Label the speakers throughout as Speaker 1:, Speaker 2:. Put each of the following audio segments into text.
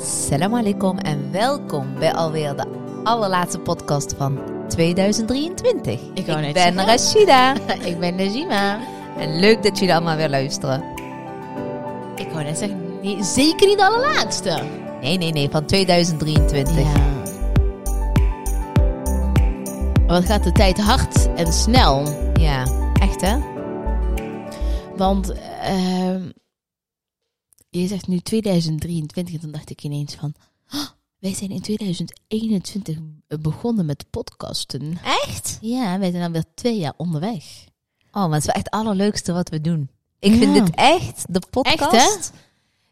Speaker 1: Salam alaikum en welkom bij alweer de allerlaatste podcast van 2023.
Speaker 2: Ik wou net
Speaker 1: ben
Speaker 2: zeggen.
Speaker 1: Rashida
Speaker 2: Ik ben Najima.
Speaker 1: en leuk dat jullie allemaal weer luisteren.
Speaker 2: Ik wou net zeggen, nee, zeker niet de allerlaatste.
Speaker 1: Nee, nee, nee, van 2023.
Speaker 2: Wat gaat de tijd hard en snel?
Speaker 1: Ja, echt hè?
Speaker 2: Want ehm, je zegt nu 2023, en dan dacht ik ineens van... "Oh, wij zijn in 2021 begonnen met podcasten.
Speaker 1: Echt?
Speaker 2: Ja, wij zijn alweer twee jaar onderweg.
Speaker 1: Oh, maar het is wel echt het allerleukste wat we doen. Ik vind
Speaker 2: Ja.
Speaker 1: dit echt, de podcast.
Speaker 2: Echt,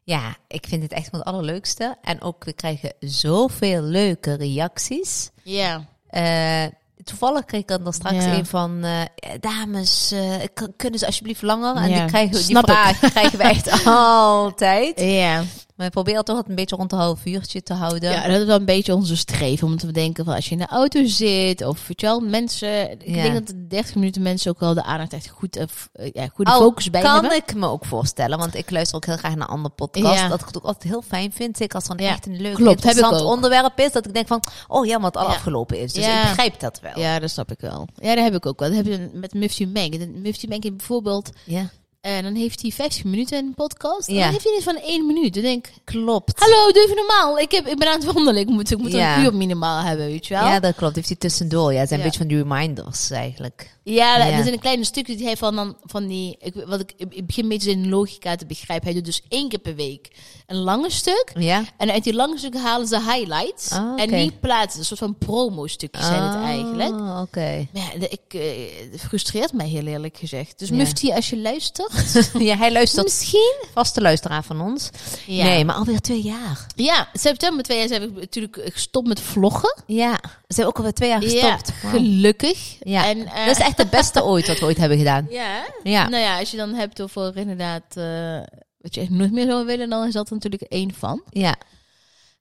Speaker 1: Ja, ik vind dit echt van het allerleukste. En ook, we krijgen zoveel leuke reacties.
Speaker 2: Ja.
Speaker 1: Eh, toevallig kreeg ik er dan straks
Speaker 2: Ja.
Speaker 1: een van... eh, dames, eh, k- kunnen ze alsjeblieft langer? En
Speaker 2: Ja,
Speaker 1: die, krijgen, we- die
Speaker 2: snap ik.
Speaker 1: vraag krijgen we echt altijd.
Speaker 2: Ja.
Speaker 1: Maar we proberen toch altijd een beetje rond een half uurtje te houden.
Speaker 2: Ja, dat is wel een beetje onze streven. Omdat we denken van als je in de auto zit of weet je wel, mensen. Ik
Speaker 1: Ja.
Speaker 2: denk dat de 30 minuten mensen ook wel de aandacht echt goed, eh, f- eh, ja, goede
Speaker 1: Al
Speaker 2: focus bij
Speaker 1: Oh, kan
Speaker 2: hebben.
Speaker 1: ik me ook voorstellen, want ik luister ook heel graag naar andere podcasts.
Speaker 2: Ja.
Speaker 1: Dat ik het ook altijd heel fijn vind, zeker als er een
Speaker 2: Ja.
Speaker 1: echt een leuk,
Speaker 2: Klopt, heb ik
Speaker 1: interessant
Speaker 2: ook.
Speaker 1: onderwerp is. Dat ik denk van, oh ja, wat al
Speaker 2: Ja.
Speaker 1: afgelopen is. Dus
Speaker 2: Ja.
Speaker 1: ik begrijp dat wel.
Speaker 2: Ja, dat snap ik wel. Ja, dat heb ik ook wel. Dat heb je met Mufti Menk. En Mufti Menk heeft bijvoorbeeld,
Speaker 1: Ja.
Speaker 2: en dan heeft hij 50 minuten een podcast.
Speaker 1: Ja.
Speaker 2: Dan heeft hij niet van één minuut. Dan denk ik,
Speaker 1: Klopt.
Speaker 2: hallo, doe even normaal. Ik, heb, ik ben aan het wandelen. Ik moet, ik moet
Speaker 1: Ja.
Speaker 2: een uur minimaal hebben, weet je wel.
Speaker 1: Ja, dat klopt. Heeft hij tussendoor. Ja, het zijn
Speaker 2: Ja.
Speaker 1: een beetje van die reminders eigenlijk.
Speaker 2: Ja,
Speaker 1: Ja.
Speaker 2: er zijn een kleine stukjes die hij van, dan, van die... Ik, wat ik, ik begin een beetje zijn logica te begrijpen. Hij doet dus één keer per week een lange stuk.
Speaker 1: Ja?
Speaker 2: En uit die lange stukken halen ze highlights.
Speaker 1: Ah, oké.
Speaker 2: En niet plaatsen. Een soort van promo-stukjes zijn het eigenlijk.
Speaker 1: Ah, Oké.
Speaker 2: Maar ja, de- ik, eh, het frustreert mij heel eerlijk gezegd. Dus
Speaker 1: Ja.
Speaker 2: Mufti, als je luistert...
Speaker 1: ja, hij luistert
Speaker 2: misschien?
Speaker 1: vaste luisteraar van ons.
Speaker 2: Ja.
Speaker 1: Nee, maar alweer twee jaar.
Speaker 2: Ja, september 2000 heb ik natuurlijk gestopt met vloggen.
Speaker 1: Ja, ze hebben ook alweer twee jaar gestopt.
Speaker 2: Ja,
Speaker 1: Wauw.
Speaker 2: gelukkig.
Speaker 1: Ja.
Speaker 2: En, eh,
Speaker 1: Dat is echt het beste ooit wat we ooit hebben gedaan.
Speaker 2: Ja, hè?
Speaker 1: Ja.
Speaker 2: Nou ja, als je dan hebt over inderdaad eh, wat je echt nooit meer zou willen, dan is dat er natuurlijk één van.
Speaker 1: Ja.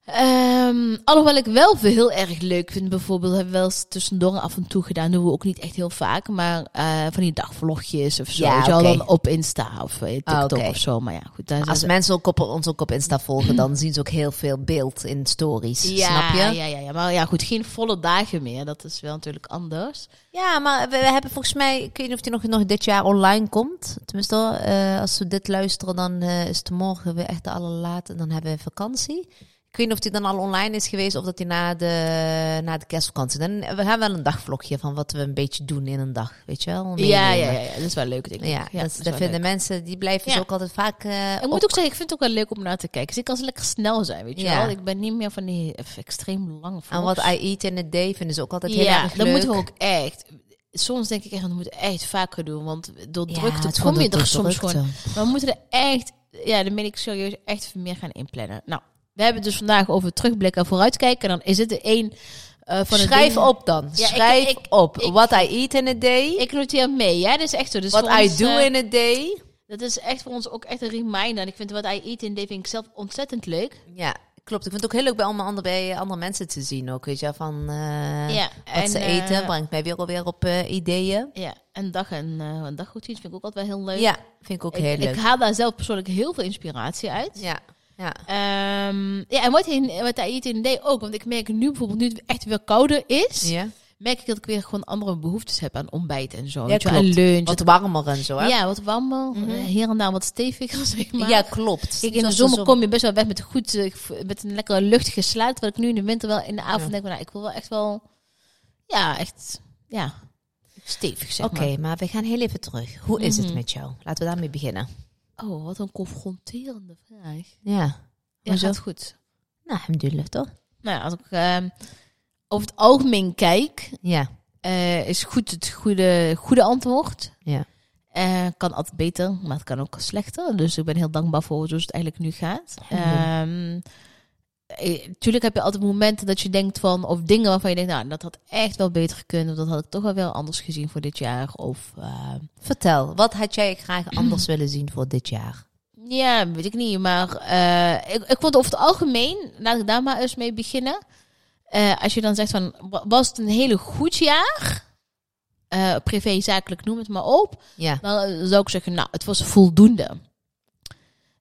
Speaker 2: Ehm, alhoewel ik wel veel heel erg leuk vind, bijvoorbeeld hebben we wel eens tussendoor af en toe gedaan, doen we ook niet echt heel vaak, maar eh, van die dagvlogjes of zo.
Speaker 1: Ja,
Speaker 2: weet je wel,
Speaker 1: oké.
Speaker 2: dan op Insta of eh, TikTok
Speaker 1: Ah, oké.
Speaker 2: of zo. Maar ja, goed. Daar
Speaker 1: Als mensen ook op, ons ook op Insta volgen, dan zien ze ook heel veel beeld in stories.
Speaker 2: ja,
Speaker 1: snap je?
Speaker 2: Ja, ja, ja, maar ja, goed, geen volle dagen meer. Dat is wel natuurlijk anders.
Speaker 1: Ja, maar we, we hebben volgens mij, ik weet niet of die nog, nog dit jaar online komt. Tenminste, eh, als we dit luisteren, dan eh, is het morgen weer echt de allerlaat en dan hebben we vakantie. Ik weet niet of die dan al online is geweest of dat die na de, na de kerstvakantie. Dan, we gaan wel een dagvlogje van wat we een beetje doen in een dag, weet je wel?
Speaker 2: Ja, ja,
Speaker 1: Meenemen.
Speaker 2: ja, ja, dat is wel leuk, denk ik.
Speaker 1: Ja, dat,
Speaker 2: is
Speaker 1: dat
Speaker 2: wel
Speaker 1: vinden
Speaker 2: leuk.
Speaker 1: mensen, die blijven ze
Speaker 2: Ja.
Speaker 1: ook altijd vaak eh,
Speaker 2: Ik
Speaker 1: op.
Speaker 2: moet ook zeggen, ik vind het ook wel leuk om naar te kijken. Dus ik kan ze lekker snel zijn, weet je
Speaker 1: Ja.
Speaker 2: wel. Ik ben niet meer van die eh, extreem lange vlogs.
Speaker 1: En wat I eat in a day vinden ze ook altijd heel
Speaker 2: Ja,
Speaker 1: erg leuk.
Speaker 2: dat moeten we ook echt... Soms denk ik echt, dat moeten we echt vaker doen. Want door
Speaker 1: Ja,
Speaker 2: drukte
Speaker 1: het eh,
Speaker 2: kom je
Speaker 1: wordt
Speaker 2: er
Speaker 1: ook
Speaker 2: soms
Speaker 1: drukte.
Speaker 2: gewoon... Maar we moeten er echt... Ja, dan ben ik serieus echt meer gaan inplannen. Nou, we hebben het dus vandaag over terugblikken en vooruitkijken. En dan is het de één eh, van de
Speaker 1: Schrijf
Speaker 2: dingen-
Speaker 1: op dan.
Speaker 2: Ja, ik-
Speaker 1: Schrijf
Speaker 2: ik-
Speaker 1: op.
Speaker 2: ik-
Speaker 1: What I eat in a day.
Speaker 2: Ik noteer mee, ja, dat is echt zo. Dus
Speaker 1: What
Speaker 2: voor
Speaker 1: I
Speaker 2: ons,
Speaker 1: do
Speaker 2: eh,
Speaker 1: in a day.
Speaker 2: Dat is echt voor ons ook echt een reminder. En ik vind wat I eat in Dave vind ik zelf ontzettend leuk.
Speaker 1: Ja, klopt. Ik vind het ook heel leuk bij allemaal andere, bij andere mensen te zien ook. Weet je, wel, van eh,
Speaker 2: Ja,
Speaker 1: wat
Speaker 2: en,
Speaker 1: ze
Speaker 2: eh,
Speaker 1: eten brengt mij weer alweer op eh, ideeën.
Speaker 2: Ja, en dag en eh, een dagroutine vind ik ook altijd wel heel leuk.
Speaker 1: Ja, vind ik ook
Speaker 2: ik,
Speaker 1: heel leuk.
Speaker 2: ik haal daar zelf persoonlijk heel veel inspiratie uit.
Speaker 1: ja, ja.
Speaker 2: Ehm, ja, en wat, hij- wat daar eet in deed ook. Want ik merk nu bijvoorbeeld, nu het echt weer kouder is,
Speaker 1: Ja,
Speaker 2: merk Dus ik dat ik weer gewoon andere behoeftes heb aan ontbijt en zo.
Speaker 1: Ja,
Speaker 2: weet je wel,
Speaker 1: klopt.
Speaker 2: aan lunch.
Speaker 1: wat warmer en zo. Hè? Mhm.
Speaker 2: ja, wat warmer. eh, Hier en daar wat steviger, zeg maar.
Speaker 1: ja, klopt.
Speaker 2: Kijk, in de
Speaker 1: Zoals
Speaker 2: zomer kom je best wel weg met, goed, eh, v- met een lekkere luchtige slaap. Terwijl ik nu in de winter wel in de avond
Speaker 1: Ja.
Speaker 2: denk, van, nou, ik wil wel echt wel... Ja, echt... Ja, stevig zeg Mhm.
Speaker 1: Oké, maar we gaan heel even terug. Hoe is het met jou? Laten we daarmee beginnen.
Speaker 2: maar. Oh, wat een confronterende vraag.
Speaker 1: Ja.
Speaker 2: Ja,
Speaker 1: Hoezo?
Speaker 2: gaat goed.
Speaker 1: Nou, alhamdulillah, toch?
Speaker 2: Nou ja, als ik ehm, over het algemeen kijk,
Speaker 1: Ja.
Speaker 2: eh, is goed het goede, goede antwoord.
Speaker 1: Ja.
Speaker 2: Eh, kan altijd beter, maar het kan ook slechter. Dus ik ben heel dankbaar voor zoals het eigenlijk nu gaat.
Speaker 1: Alhamdulillah.
Speaker 2: Ehm, eh, tuurlijk heb je altijd momenten dat je denkt van... of dingen waarvan je denkt, nou, dat had echt wel beter gekund... of dat had ik toch wel wel anders gezien voor dit jaar. Of ehm,
Speaker 1: Vertel, wat had jij graag anders willen zien voor dit jaar?
Speaker 2: Ja, weet ik niet. Maar eh, ik, ik vond over het algemeen, laat ik daar maar eens mee beginnen. Eh, als je dan zegt van, wa- was het een hele goed jaar? Eh, privé, zakelijk, noem het maar op.
Speaker 1: Ja.
Speaker 2: Dan eh, zou ik zeggen, nou, het was voldoende.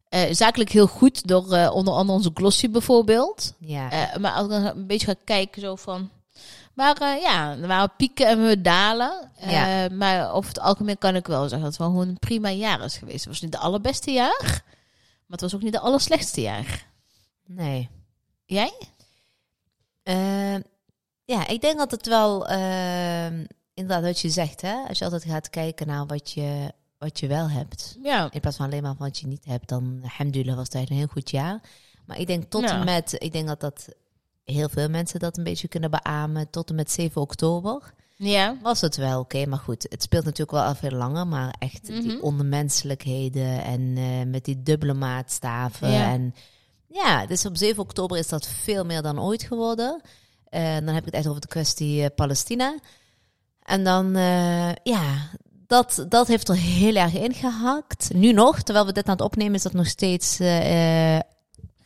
Speaker 2: Eh, eh, zakelijk heel goed door eh, onder andere onze glossy bijvoorbeeld.
Speaker 1: Ja.
Speaker 2: Eh, maar als ik dan een beetje ga kijken zo van... Maar eh, ja, er waren pieken en we dalen. Eh,
Speaker 1: Ja.
Speaker 2: Maar over het algemeen kan ik wel zeggen dat het wel gewoon een prima jaar is geweest. Het was niet het allerbeste jaar, maar het was ook niet het allerslechtste jaar.
Speaker 1: nee.
Speaker 2: Jij?
Speaker 1: Eh, ja, ik denk dat het wel, eh, inderdaad wat je zegt, hè? als je altijd gaat kijken naar wat je, wat je wel hebt.
Speaker 2: Ja.
Speaker 1: In plaats van alleen maar wat je niet hebt, dan alhamdulillah was het eigenlijk een heel goed jaar. Maar ik denk tot
Speaker 2: Ja.
Speaker 1: en met, ik denk dat dat heel veel mensen dat een beetje kunnen beamen, tot en met 7 oktober
Speaker 2: Ja.
Speaker 1: was het wel oké. Maar goed, het speelt natuurlijk wel al veel langer. Maar echt
Speaker 2: Mhm.
Speaker 1: die onmenselijkheden en eh, met die dubbele maatstaven.
Speaker 2: Ja.
Speaker 1: En ja, dus op 7 oktober is dat veel meer dan ooit geworden. En dan heb ik het echt over de kwestie eh, Palestina. En dan, eh, ja, dat, dat heeft er heel erg ingehakt. Nu nog, terwijl we dit aan het opnemen, is dat nog steeds eh, eh,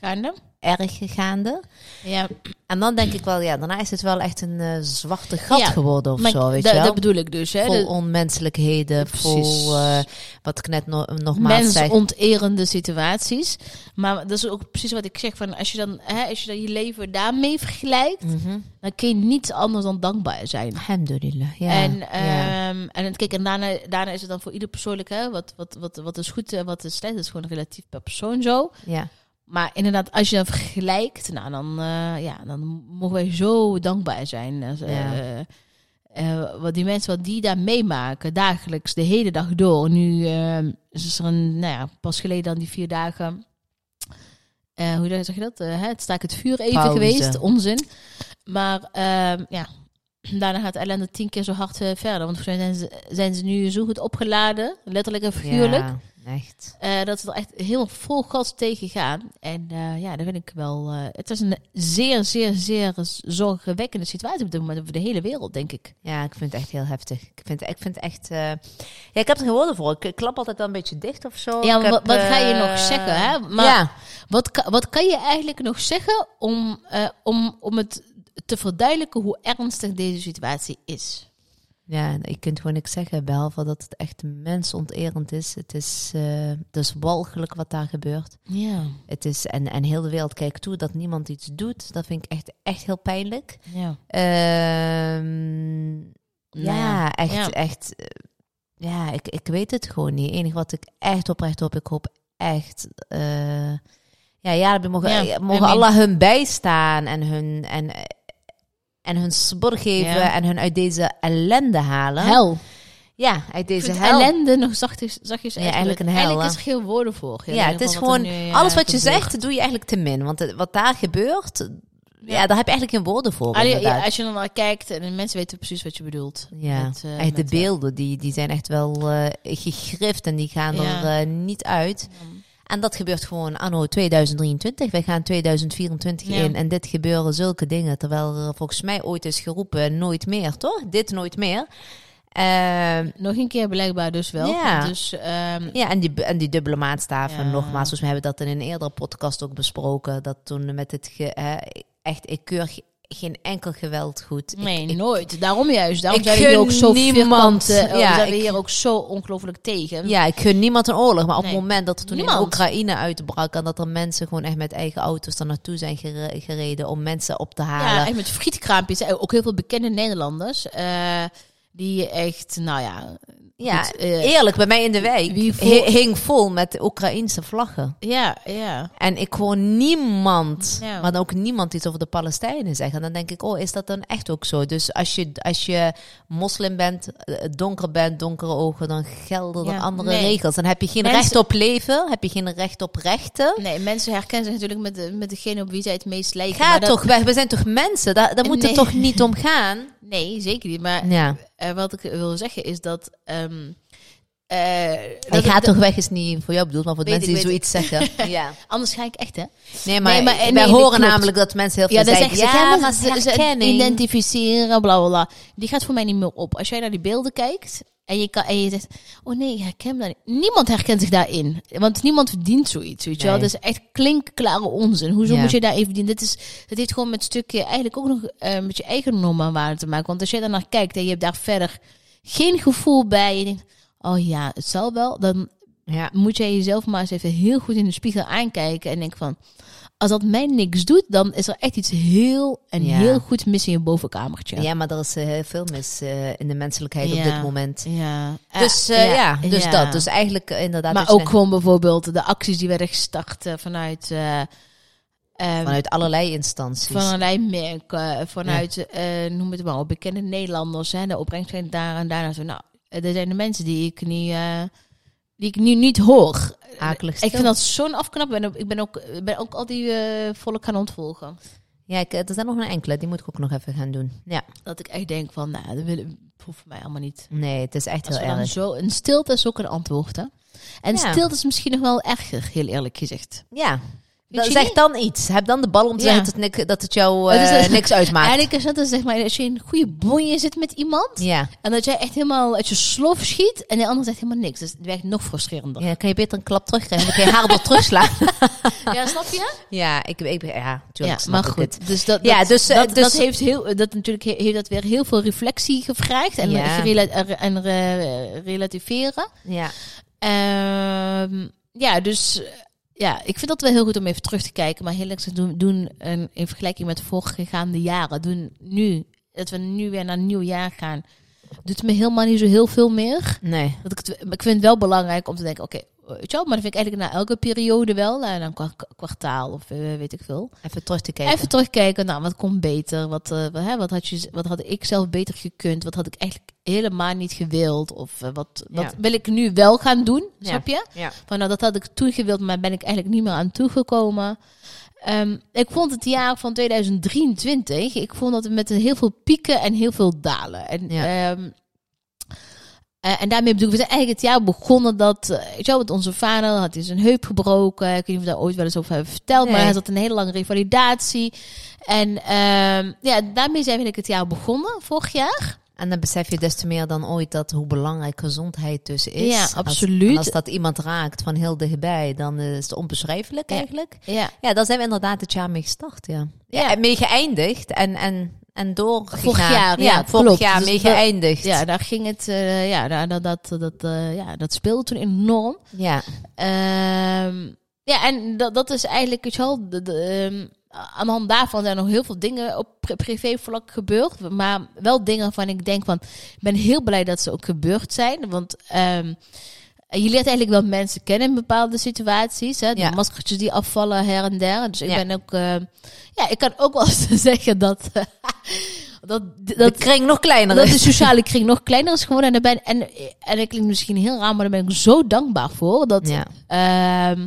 Speaker 2: Gaande?
Speaker 1: erg gaande.
Speaker 2: Ja.
Speaker 1: En dan denk ik wel, ja, daarna is het wel echt een eh, zwarte gat
Speaker 2: Ja,
Speaker 1: geworden of
Speaker 2: Maar
Speaker 1: zo, weet
Speaker 2: dat,
Speaker 1: je wel?
Speaker 2: dat bedoel ik dus. Hè.
Speaker 1: vol
Speaker 2: De
Speaker 1: onmenselijkheden, vol eh, wat ik net no nogmaals zei.
Speaker 2: mensonterende situaties. Maar dat is ook precies wat ik zeg. Van als, je dan, hè, als je dan je leven daarmee vergelijkt,
Speaker 1: Mhm.
Speaker 2: dan kun je niets anders dan dankbaar zijn.
Speaker 1: Alhamdulillah, ja.
Speaker 2: en,
Speaker 1: ja.
Speaker 2: ehm, en het- kijk, en daarna, daarna is het dan voor ieder persoonlijk, hè, wat, wat, wat, wat is goed en wat is slecht, dat is gewoon relatief per persoon zo.
Speaker 1: ja.
Speaker 2: Maar inderdaad, als je dan vergelijkt, nou, dan, eh, ja, dan mogen wij zo dankbaar zijn. Als, eh,
Speaker 1: Ja.
Speaker 2: eh, wat die mensen, wat die daar meemaken, dagelijks, de hele dag door. Nu ehm, is er een, nou ja, pas geleden dan die vier dagen, eh, hoe zeg je dat? Eh, hè, het staak het vuur even
Speaker 1: Pauze.
Speaker 2: geweest, onzin. Maar ehm, ja, daarna gaat ellende tien keer zo hard eh, verder. Want volgens mij zijn ze, zijn ze nu zo goed opgeladen, letterlijk en figuurlijk.
Speaker 1: Ja, echt.
Speaker 2: Eh, dat we er echt heel vol gas tegen gaan. En eh, ja, daar vind ik wel. eh, het is een zeer, zeer, zeer zorgwekkende situatie op dit moment voor de hele wereld, denk ik.
Speaker 1: Ja, ik vind het echt heel heftig. Ik vind, ik vind het echt... eh, Ja, ik heb er geen woorden voor. Ik, ik klap altijd wel een beetje dicht of zo.
Speaker 2: Ja,
Speaker 1: Ik
Speaker 2: maar
Speaker 1: heb,
Speaker 2: wat, wat ga je
Speaker 1: eh,
Speaker 2: nog zeggen? Hè? Maar
Speaker 1: ja.
Speaker 2: wat, ka- wat kan je eigenlijk nog zeggen om, eh, om, om het te verduidelijken hoe ernstig deze situatie is?
Speaker 1: ja, je kunt gewoon niks zeggen, behalve dat het echt mensonterend is. Het is, eh het is walgelijk wat daar gebeurt.
Speaker 2: Ja,
Speaker 1: Het is, en, en heel de wereld kijkt toe dat niemand iets doet. Dat vind ik echt, echt heel pijnlijk.
Speaker 2: ja.
Speaker 1: Ehm, ja, echt,
Speaker 2: ja.
Speaker 1: echt. eh, Ja, ik, ik weet het gewoon niet. Enig wat ik echt oprecht hoop, ik hoop echt. eh, ja, ja, we mogen,
Speaker 2: Ja,
Speaker 1: eh,
Speaker 2: I
Speaker 1: mogen
Speaker 2: mean-
Speaker 1: Allah hun bijstaan en hun, en, eh, en hun spoor geven
Speaker 2: Ja.
Speaker 1: en hun uit deze ellende halen.
Speaker 2: Hel.
Speaker 1: Ja, uit
Speaker 2: Ik
Speaker 1: deze
Speaker 2: vind
Speaker 1: hel.
Speaker 2: ellende nog zachtjes, zachtjes
Speaker 1: Ja, eigenlijk een hel,
Speaker 2: Eigenlijk
Speaker 1: hè?
Speaker 2: is er geen woorden voor.
Speaker 1: Ja,
Speaker 2: in ieder
Speaker 1: het is
Speaker 2: geval
Speaker 1: gewoon,
Speaker 2: er nu, eh,
Speaker 1: alles wat je
Speaker 2: gebeurt.
Speaker 1: zegt, doe je eigenlijk te min. Want het- wat daar gebeurt, ja, daar heb je eigenlijk geen woorden voor.
Speaker 2: Allee,
Speaker 1: inderdaad.
Speaker 2: ja, als je dan naar kijkt en de mensen weten precies wat je bedoelt.
Speaker 1: Ja,
Speaker 2: Met, eh,
Speaker 1: echt de
Speaker 2: met, eh,
Speaker 1: beelden, die, die zijn echt wel eh, gegrift en die gaan er
Speaker 2: Ja.
Speaker 1: eh, niet uit. En dat gebeurt gewoon anno 2023. Wij gaan 2024
Speaker 2: Ja.
Speaker 1: in en dit gebeuren zulke dingen. Terwijl er volgens mij ooit is geroepen, nooit meer, toch? Dit nooit meer. Ehm,
Speaker 2: Nog een keer blijkbaar dus wel.
Speaker 1: Ja.
Speaker 2: Dus, ehm,
Speaker 1: ja, en die, en die dubbele maatstaven,
Speaker 2: Ja.
Speaker 1: nogmaals. Volgens mij hebben we dat in een eerdere podcast ook besproken. Dat toen met het... Ge, hè, echt, ik keur ge- geen enkel geweld goed. Ik-
Speaker 2: nee,
Speaker 1: ik,
Speaker 2: nooit. Daarom juist. Daarom
Speaker 1: Ik
Speaker 2: zijn we hier
Speaker 1: gun
Speaker 2: ook zo
Speaker 1: niemand.
Speaker 2: vierkant. eh,
Speaker 1: Ja,
Speaker 2: zijn we
Speaker 1: ik-
Speaker 2: hier ook zo ongelooflijk tegen.
Speaker 1: Ja, ik gun niemand een oorlog. Maar op
Speaker 2: Nee.
Speaker 1: het moment dat er toen in
Speaker 2: Niemand.
Speaker 1: Oekraïne uitbrak... en dat er mensen gewoon echt met eigen auto's daar naartoe zijn gere- gereden... om mensen op te
Speaker 2: Ja,
Speaker 1: halen.
Speaker 2: echt met frietkraampjes. Eh, Ook heel veel bekende Nederlanders. eh, die echt, nou ja.
Speaker 1: Ja,
Speaker 2: goed, eh,
Speaker 1: eerlijk, bij mij in de wijk
Speaker 2: wie voor-
Speaker 1: he- hing vol met de Oekraïnse vlaggen.
Speaker 2: ja, ja.
Speaker 1: En ik hoor niemand,
Speaker 2: Ja.
Speaker 1: maar dan ook niemand iets over de Palestijnen zeggen. En dan denk ik, oh, is dat dan echt ook zo? Dus als je, als je moslim bent, eh, donker bent, donkere ogen... dan gelden er
Speaker 2: Ja,
Speaker 1: andere
Speaker 2: nee.
Speaker 1: regels. Dan heb je geen
Speaker 2: Mensen-
Speaker 1: recht op leven, heb je geen recht op rechten...
Speaker 2: Nee, mensen herkennen zich natuurlijk met, de- met degene op wie zij het meest lijken.
Speaker 1: Ga
Speaker 2: maar dat-
Speaker 1: toch weg, we zijn toch mensen? Daar, daar moet
Speaker 2: Nee.
Speaker 1: het toch niet om gaan?
Speaker 2: Nee, zeker niet. Maar
Speaker 1: Ja.
Speaker 2: eh, wat ik wil zeggen is dat... ehm eh,
Speaker 1: Hij
Speaker 2: dat-
Speaker 1: gaat
Speaker 2: dat-
Speaker 1: toch weg is niet voor jou bedoeld, maar voor de
Speaker 2: Weet
Speaker 1: mensen die
Speaker 2: ik, weet
Speaker 1: zoiets zeggen. Ja.
Speaker 2: Anders ga ik echt, hè?
Speaker 1: Nee, maar,
Speaker 2: Nee, maar, eh,
Speaker 1: wij
Speaker 2: nee, dat
Speaker 1: horen
Speaker 2: klopt.
Speaker 1: namelijk dat mensen heel veel
Speaker 2: Ja, dan
Speaker 1: zeggen...
Speaker 2: zeggen ze,
Speaker 1: Ja,
Speaker 2: ja,
Speaker 1: maar
Speaker 2: maar ze- ze
Speaker 1: herkenning.
Speaker 2: identificeren, bla bla bla. Die gaat voor mij niet meer op. Als jij naar die beelden kijkt en je, kan, en je zegt, oh nee, ik herken me daar niet. Niemand herkent zich daarin. Want niemand verdient zoiets, weet je wel.
Speaker 1: Nee.
Speaker 2: Dat is echt klinkklare onzin. Hoezo
Speaker 1: Ja.
Speaker 2: moet je daar even verdienen? Dit is, het heeft gewoon met stukje eigenlijk ook nog eh, met je eigen normen en waarden te maken. Want als jij daar naar kijkt en je hebt daar verder geen gevoel bij. Je denkt, oh ja, het zal wel. Dan
Speaker 1: Ja.
Speaker 2: moet jij jezelf maar eens even heel goed in de spiegel aankijken en denk van, als dat mij niks doet, dan is er echt iets heel en
Speaker 1: Ja.
Speaker 2: heel goed mis in je bovenkamertje.
Speaker 1: Ja. maar er is eh, heel veel mis eh, in de menselijkheid op
Speaker 2: Ja.
Speaker 1: dit moment.
Speaker 2: Ja.
Speaker 1: Dus eh, ja. dus dat. Dus eigenlijk eh, inderdaad.
Speaker 2: maar
Speaker 1: wat je
Speaker 2: ook gewoon bijvoorbeeld de acties die werden gestart eh, vanuit, eh, ehm,
Speaker 1: zegt, vanuit allerlei instanties.
Speaker 2: van allerlei merken, vanuit, eh, noem het maar op, bekende Nederlanders. Hè, de opbrengst ging daar en daar naartoe. Nou, eh, er zijn de mensen die ik niet, eh, die ik nu niet hoor.
Speaker 1: Akelig stil.
Speaker 2: Ik vind dat zo'n afknap. En ook- ik ben ook, ik ben ook al die eh volk gaan ontvolgen.
Speaker 1: Ja, ik, er zijn nog een enkele. Die moet ik ook nog even gaan doen. Ja.
Speaker 2: Dat ik echt denk van, nou, dat, wil, dat hoeft voor mij allemaal niet.
Speaker 1: Nee, het is echt
Speaker 2: Als
Speaker 1: heel
Speaker 2: we dan
Speaker 1: erg.
Speaker 2: zo, een stilte is ook een antwoord, hè? En
Speaker 1: Ja.
Speaker 2: stilte is misschien nog wel erger, heel eerlijk gezegd.
Speaker 1: Ja. Dan,
Speaker 2: je
Speaker 1: zeg
Speaker 2: niet?
Speaker 1: dan iets. Heb dan de bal om te
Speaker 2: Ja.
Speaker 1: zeggen dat het, nik- dat het jou
Speaker 2: Het is
Speaker 1: eh,
Speaker 2: dat-
Speaker 1: niks uitmaakt.
Speaker 2: Eigenlijk is dat dus, zeg maar, als je in goede bonje zit met iemand.
Speaker 1: Ja.
Speaker 2: En dat jij echt helemaal uit je slof schiet. En de ander zegt helemaal niks. Dus het werkt nog frustrerender.
Speaker 1: ja, kan je beter een klap terugkrijgen. Dan kan je haar door terugslaan.
Speaker 2: Ja, snap je?
Speaker 1: Ja, ik, ik, ja tuurlijk
Speaker 2: maar
Speaker 1: snap ik het.
Speaker 2: goed. Dus dat,
Speaker 1: Ja,
Speaker 2: dat,
Speaker 1: dus, eh,
Speaker 2: dat,
Speaker 1: dus-
Speaker 2: dat heeft heel, dat natuurlijk he- heeft dat weer heel veel reflectie gevraagd. En,
Speaker 1: Ja.
Speaker 2: gerela- er- en eh, relativeren.
Speaker 1: Ja.
Speaker 2: Ehm, ja, dus eh, ja, ik vind dat wel heel goed om even terug te kijken. Maar heel eerlijk gezegd doen, doen een, in vergelijking met voorgaande jaren, doen nu, dat we nu weer naar een nieuw jaar gaan, doet me helemaal niet zo heel veel meer.
Speaker 1: Nee.
Speaker 2: Dat ik, het, maar ik vind het wel belangrijk om te denken, oké, weet je wel, maar dat vind ik eigenlijk na elke periode wel, eh, na een kwa- kwartaal of eh, weet ik veel.
Speaker 1: Even terug te kijken.
Speaker 2: Even terugkijken, nou, wat kon beter? Wat, eh, wat, hè, wat, had je, wat had ik zelf beter gekund? Wat had ik eigenlijk helemaal niet gewild? Of eh, wat, wat
Speaker 1: Ja.
Speaker 2: wil ik nu wel gaan doen?
Speaker 1: Ja.
Speaker 2: Snap je?
Speaker 1: Ja.
Speaker 2: Van, nou, dat had ik toen gewild, maar ben ik eigenlijk niet meer aan toegekomen. Ehm, ik vond het jaar van 2023, ik vond dat met heel veel pieken en heel veel dalen. En,
Speaker 1: Ja.
Speaker 2: ehm, eh, en daarmee bedoel ik, we zijn eigenlijk het jaar begonnen dat, eh, weet je wel, met onze vader had hij zijn heup gebroken. Ik weet niet of we daar ooit wel eens over hebben verteld, maar
Speaker 1: Nee.
Speaker 2: hij zat een hele lange revalidatie. En ehm, ja, daarmee zijn we eigenlijk het jaar begonnen, vorig jaar.
Speaker 1: En dan besef je des te meer dan ooit dat hoe belangrijk gezondheid dus is.
Speaker 2: Ja,
Speaker 1: Als-
Speaker 2: absoluut.
Speaker 1: en Als, dat iemand raakt van heel dichtbij, dan eh, is het onbeschrijfelijk
Speaker 2: Ja.
Speaker 1: eigenlijk.
Speaker 2: Ja.
Speaker 1: Ja, daar zijn we inderdaad het jaar mee gestart, ja. Ja, en mee geëindigd en, en, en doorgegaan.
Speaker 2: Vorig jaar, ja,
Speaker 1: vorig
Speaker 2: klopt.
Speaker 1: jaar
Speaker 2: Dus
Speaker 1: mee
Speaker 2: dat-
Speaker 1: geëindigd.
Speaker 2: Ja, daar ging het, eh, ja, daar- dat, dat, dat, eh, ja, dat speelde toen enorm.
Speaker 1: ja.
Speaker 2: Ehm, ja, en dat, dat is eigenlijk, weet je wel, de, de, ehm, aan de hand daarvan zijn nog heel veel dingen op pri- privévlak gebeurd. Maar wel dingen waarvan ik denk van, ik ben heel blij dat ze ook gebeurd zijn. Want ehm, je leert eigenlijk wel mensen kennen in bepaalde situaties. Hè? De
Speaker 1: Ja.
Speaker 2: maskertjes die afvallen her en der. Dus ik
Speaker 1: Ja.
Speaker 2: ben ook, ehm, ja, ik kan ook wel eens zeggen dat... dat, dat
Speaker 1: Dat kring nog kleiner
Speaker 2: dat
Speaker 1: is.
Speaker 2: de sociale kring nog kleiner is geworden. En, daar ben, en, en ik klinkt misschien heel raar, maar daar ben ik zo dankbaar voor. Dat,
Speaker 1: Ja.
Speaker 2: ehm,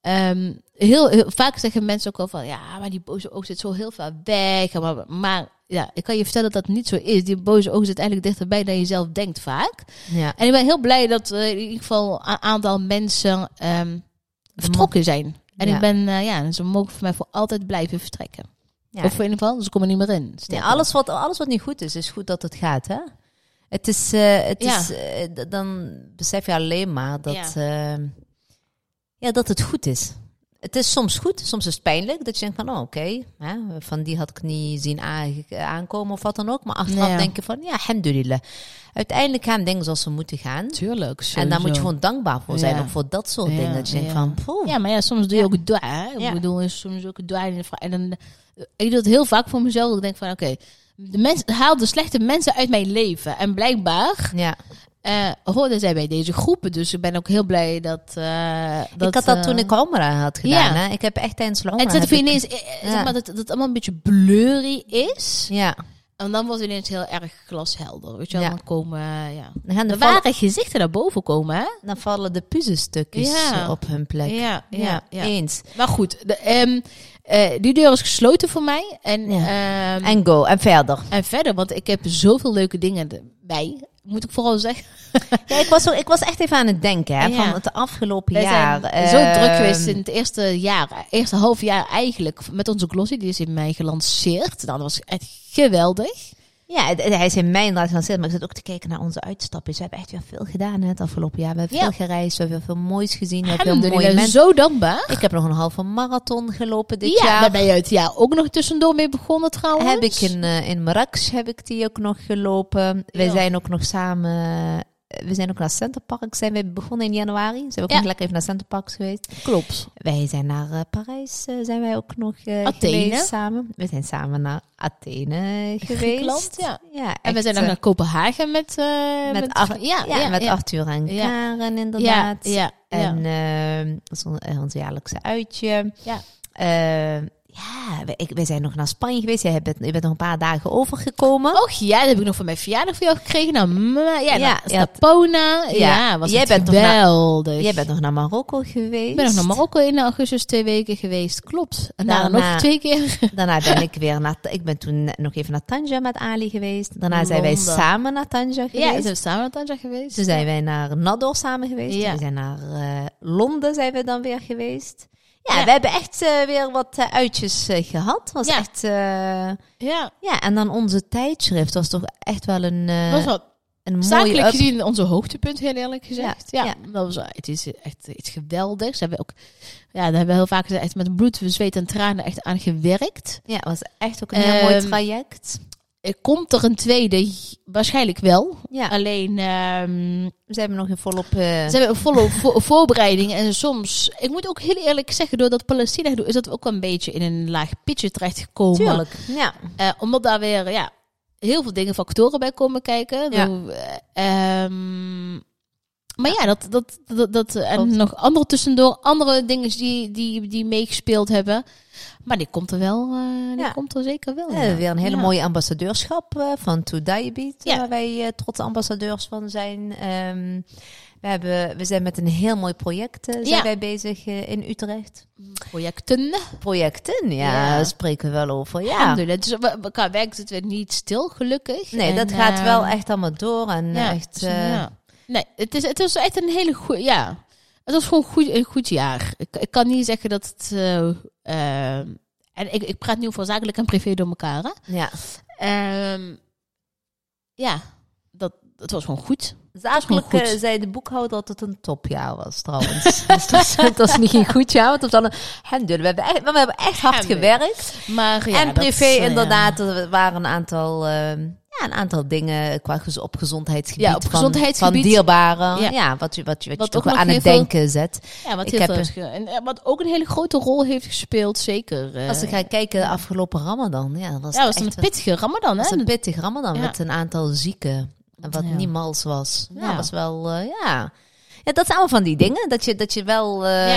Speaker 2: ehm, heel, heel vaak zeggen mensen ook wel van ja, maar die boze oog zit zo heel ver weg. Maar, maar ja, ik kan je vertellen dat dat niet zo is. Die boze oog zit eigenlijk dichterbij dan je zelf denkt vaak.
Speaker 1: ja.
Speaker 2: En ik ben heel blij dat eh, in ieder geval een aantal mensen ehm, vertrokken zijn. En
Speaker 1: Ja.
Speaker 2: ik ben, eh, ja, ze mogen voor mij voor altijd blijven vertrekken.
Speaker 1: Ja.
Speaker 2: Of in ieder geval, ze komen er niet meer in.
Speaker 1: Ja,
Speaker 2: Sterker
Speaker 1: alles, wat, alles wat niet goed is, is goed dat het gaat, hè? Het is, eh, het
Speaker 2: Ja.
Speaker 1: is eh, d- dan besef je alleen maar dat,
Speaker 2: Ja.
Speaker 1: ja. ja, dat het goed is. Het is soms goed, soms is het pijnlijk. Dat je denkt van, oh, oké, hè, van die had ik niet zien aange- aankomen of wat dan ook. Maar achteraf
Speaker 2: Ja.
Speaker 1: denk je van, ja, alhamdulillah. Uiteindelijk gaan dingen zoals ze moeten gaan.
Speaker 2: Tuurlijk.
Speaker 1: En daar moet je
Speaker 2: sowieso.
Speaker 1: gewoon dankbaar voor zijn,
Speaker 2: Ja.
Speaker 1: ook voor dat soort
Speaker 2: Ja,
Speaker 1: dingen. Dat je denkt
Speaker 2: ja.
Speaker 1: van, poeh.
Speaker 2: Ja, maar ja, soms doe je
Speaker 1: Ja.
Speaker 2: ook dua. hè. Ik
Speaker 1: Ja.
Speaker 2: bedoel, en soms doe ik het dua. En, dan vra- en dan, eh, ik doe het heel vaak voor mezelf. Dat ik denk van, oké, de mens, haal de slechte mensen uit mijn leven. En blijkbaar
Speaker 1: ja.
Speaker 2: eh hoorden zij bij deze groepen. Dus ik ben ook heel blij dat... eh, dat
Speaker 1: ik had dat
Speaker 2: eh,
Speaker 1: toen ik Omra had gedaan.
Speaker 2: ja.
Speaker 1: Hè? Ik heb echt tijdens de
Speaker 2: En
Speaker 1: Omra...
Speaker 2: toen
Speaker 1: heb
Speaker 2: vind je
Speaker 1: ik-
Speaker 2: ineens, eh, eh,
Speaker 1: Ja.
Speaker 2: zeg maar, dat dat het allemaal een beetje blurry is.
Speaker 1: Ja,
Speaker 2: En dan wordt het ineens heel erg glashelder. Weet je wel,
Speaker 1: Ja.
Speaker 2: dan komen, eh, ja.
Speaker 1: dan gaan de
Speaker 2: De
Speaker 1: vallen-
Speaker 2: ware gezichten naar boven komen, hè?
Speaker 1: dan vallen de puzzelstukjes
Speaker 2: Ja.
Speaker 1: eh, op hun plek. Ja, eens.
Speaker 2: Maar goed, de, ehm, eh, die deur is gesloten voor mij. En, ehm, en,
Speaker 1: En go, en verder.
Speaker 2: verder, want ik heb zoveel leuke dingen erbij. Moet ik vooral zeggen.
Speaker 1: Ja, ik, was zo, ik was echt even aan het denken hè,
Speaker 2: Ja.
Speaker 1: van het afgelopen
Speaker 2: Wij
Speaker 1: jaar.
Speaker 2: zijn
Speaker 1: eh,
Speaker 2: zo druk geweest in het eerste jaar, eerste half jaar eigenlijk. Met onze glossy, die is in mei gelanceerd. Nou, dat was echt geweldig.
Speaker 1: Ja, het- hij is in mei inderdaad gaan zitten, maar ik zat ook te kijken naar onze uitstapjes. We hebben echt weer veel gedaan hè, het afgelopen jaar. We hebben
Speaker 2: Ja.
Speaker 1: veel gereisd, we hebben veel moois gezien, we hebben veel mooie
Speaker 2: Alhamdulillah,
Speaker 1: mensen.
Speaker 2: zo dankbaar.
Speaker 1: Ik heb nog een halve marathon gelopen dit
Speaker 2: ja, daar
Speaker 1: jaar.
Speaker 2: ben je het jaar ook nog tussendoor mee begonnen trouwens.
Speaker 1: Heb ik in, eh, in Marrakesh heb ik die ook nog gelopen. Wij
Speaker 2: Ja.
Speaker 1: zijn ook nog samen eh, we zijn ook naar Centerpark. Zijn we begonnen in januari. Zijn we ook
Speaker 2: Ja.
Speaker 1: nog lekker even naar Centerpark geweest.
Speaker 2: Klopt.
Speaker 1: Wij zijn naar eh, Parijs. eh, zijn wij ook nog eh,
Speaker 2: Athene.
Speaker 1: geweest samen. We zijn samen naar Athene geweest.
Speaker 2: Griekenland, ja.
Speaker 1: ja
Speaker 2: En we
Speaker 1: echt,
Speaker 2: zijn dan
Speaker 1: eh,
Speaker 2: naar Kopenhagen met... eh,
Speaker 1: met, Ar- ja,
Speaker 2: ja, ja,
Speaker 1: met
Speaker 2: ja.
Speaker 1: Arthur en
Speaker 2: Ja.
Speaker 1: Karen
Speaker 2: Ja,
Speaker 1: inderdaad.
Speaker 2: ja, ja.
Speaker 1: En ehm, dat is on- eh, ons jaarlijkse uitje.
Speaker 2: Ja.
Speaker 1: Ehm, ja, we, ik, wij zijn nog naar Spanje geweest. Jij bent, je bent nog een paar dagen overgekomen.
Speaker 2: Och ja, dat heb ik nog van mijn verjaardag voor jou gekregen. Nou, mma, ja,
Speaker 1: Ja,
Speaker 2: ja,
Speaker 1: ja.
Speaker 2: Napona. Ja,
Speaker 1: Ja,
Speaker 2: was
Speaker 1: jij
Speaker 2: het
Speaker 1: bent nog naar-
Speaker 2: geweldig.
Speaker 1: Dus Jij bent nog naar Marokko geweest.
Speaker 2: ik ben nog naar Marokko in augustus twee weken geweest. Klopt. En daarna
Speaker 1: Daarna-
Speaker 2: nog twee keer.
Speaker 1: Daarna ben ik weer naar... Ik ben toen nog even naar Tanja met Ali geweest. Daarna zijn wij
Speaker 2: Londen.
Speaker 1: samen naar Tanja
Speaker 2: Ja, Dus,
Speaker 1: geweest.
Speaker 2: zijn we samen naar Tanja geweest.
Speaker 1: Toen zijn wij naar Nador samen geweest.
Speaker 2: Ja.
Speaker 1: We zijn naar eh, Londen zijn we dan weer geweest. Ja,
Speaker 2: Ja.
Speaker 1: we hebben echt eh, weer wat eh, uitjes eh, gehad. Was
Speaker 2: Ja.
Speaker 1: echt... eh,
Speaker 2: Ja,
Speaker 1: Ja, en dan onze tijdschrift was toch echt wel een, eh,
Speaker 2: dat was wel
Speaker 1: een mooie
Speaker 2: zakelijk
Speaker 1: up-
Speaker 2: gezien onze hoogtepunt, heel eerlijk gezegd.
Speaker 1: Ja,
Speaker 2: Ja,
Speaker 1: ja.
Speaker 2: Dat was, wel- het is echt iets geweldigs. Daar hebben we ook, ja, daar hebben we heel vaak echt met bloed, zweet en tranen echt aan gewerkt.
Speaker 1: Ja, was echt ook een heel mooi
Speaker 2: Ehm,
Speaker 1: traject.
Speaker 2: Er komt er een tweede? Waarschijnlijk wel.
Speaker 1: Ja,
Speaker 2: Alleen, ehm,
Speaker 1: ze hebben nog in volop... eh,
Speaker 2: Ze hebben een volle vo- voorbereiding. En soms, ik moet ook heel eerlijk zeggen, door dat Palestina gedoe is dat we ook wel een beetje in een laag pitje terechtgekomen.
Speaker 1: Tuurlijk, ja.
Speaker 2: Eh omdat daar weer ja, heel veel dingen, factoren bij komen kijken.
Speaker 1: Ja.
Speaker 2: Hoe, eh, ehm, maar ja, dat, dat, dat, dat
Speaker 1: Klopt.
Speaker 2: en nog andere tussendoor, andere dingen die, die, die meegespeeld hebben. Maar die komt er wel, eh, die
Speaker 1: Ja.
Speaker 2: komt er zeker wel.
Speaker 1: Eh,
Speaker 2: ja.
Speaker 1: weer een hele
Speaker 2: Ja.
Speaker 1: mooie ambassadeurschap eh, van To Diabetes,
Speaker 2: Ja.
Speaker 1: waar wij eh, trotse ambassadeurs van zijn. Ehm, we, hebben, we zijn met een heel mooi project eh, zijn
Speaker 2: Ja.
Speaker 1: wij bezig eh, in Utrecht.
Speaker 2: projecten.
Speaker 1: Projecten, ja,
Speaker 2: Ja.
Speaker 1: daar spreken we wel over. Ja.
Speaker 2: Ja. Dus we- we- qua werk zitten we niet stil, gelukkig.
Speaker 1: Nee,
Speaker 2: En,
Speaker 1: dat gaat wel
Speaker 2: ehm,
Speaker 1: echt allemaal door. En
Speaker 2: Ja,
Speaker 1: echt,
Speaker 2: dus, eh,
Speaker 1: eh,
Speaker 2: ja. Nee, het, is, het was echt een hele goede. Ja. Het was gewoon goed, een goed jaar. Ik, ik kan niet zeggen dat het. eh, eh, en ik, ik praat nu over zakelijk en privé door elkaar. Hè?
Speaker 1: ja.
Speaker 2: Ehm, ja, dat, het was gewoon goed.
Speaker 1: Zakelijk
Speaker 2: gewoon goed.
Speaker 1: eh, zei de boekhouder dat het een topjaar was, trouwens. dus dat, is- dat is niet een goed jaar, want het was wel een handel. We hebben echt, maar we hebben echt hard
Speaker 2: Handel.
Speaker 1: gewerkt.
Speaker 2: Maar, ja,
Speaker 1: en
Speaker 2: dat
Speaker 1: privé,
Speaker 2: is, eh,
Speaker 1: inderdaad, er waren een aantal, ehm, ja, een aantal dingen qua gez- op gezondheidsgebied,
Speaker 2: Ja, op gezondheidsgebied.
Speaker 1: van, van dierbaren. Ja,
Speaker 2: Ja.
Speaker 1: wat, je- wat, je- wat,
Speaker 2: Wat
Speaker 1: je toch
Speaker 2: ook
Speaker 1: wel
Speaker 2: nog
Speaker 1: aan
Speaker 2: heel
Speaker 1: het
Speaker 2: veel-
Speaker 1: denken zet.
Speaker 2: Ja, wat,
Speaker 1: ik
Speaker 2: heel
Speaker 1: heb
Speaker 2: veel
Speaker 1: het-
Speaker 2: is ge- en, eh, wat ook een hele grote rol heeft gespeeld, zeker. eh.
Speaker 1: Als ik ga kijken, de afgelopen Ramadan, ja, dat was,
Speaker 2: ja, was
Speaker 1: echt
Speaker 2: een pittige Ramadan,
Speaker 1: was
Speaker 2: hè?
Speaker 1: een pittig Ramadan
Speaker 2: Ja.
Speaker 1: met een aantal zieken. En wat
Speaker 2: Ja.
Speaker 1: niet mals was. Ja,
Speaker 2: Ja.
Speaker 1: was wel, eh, ja. Ja, dat zijn allemaal van die dingen. Dat je, dat je wel eh,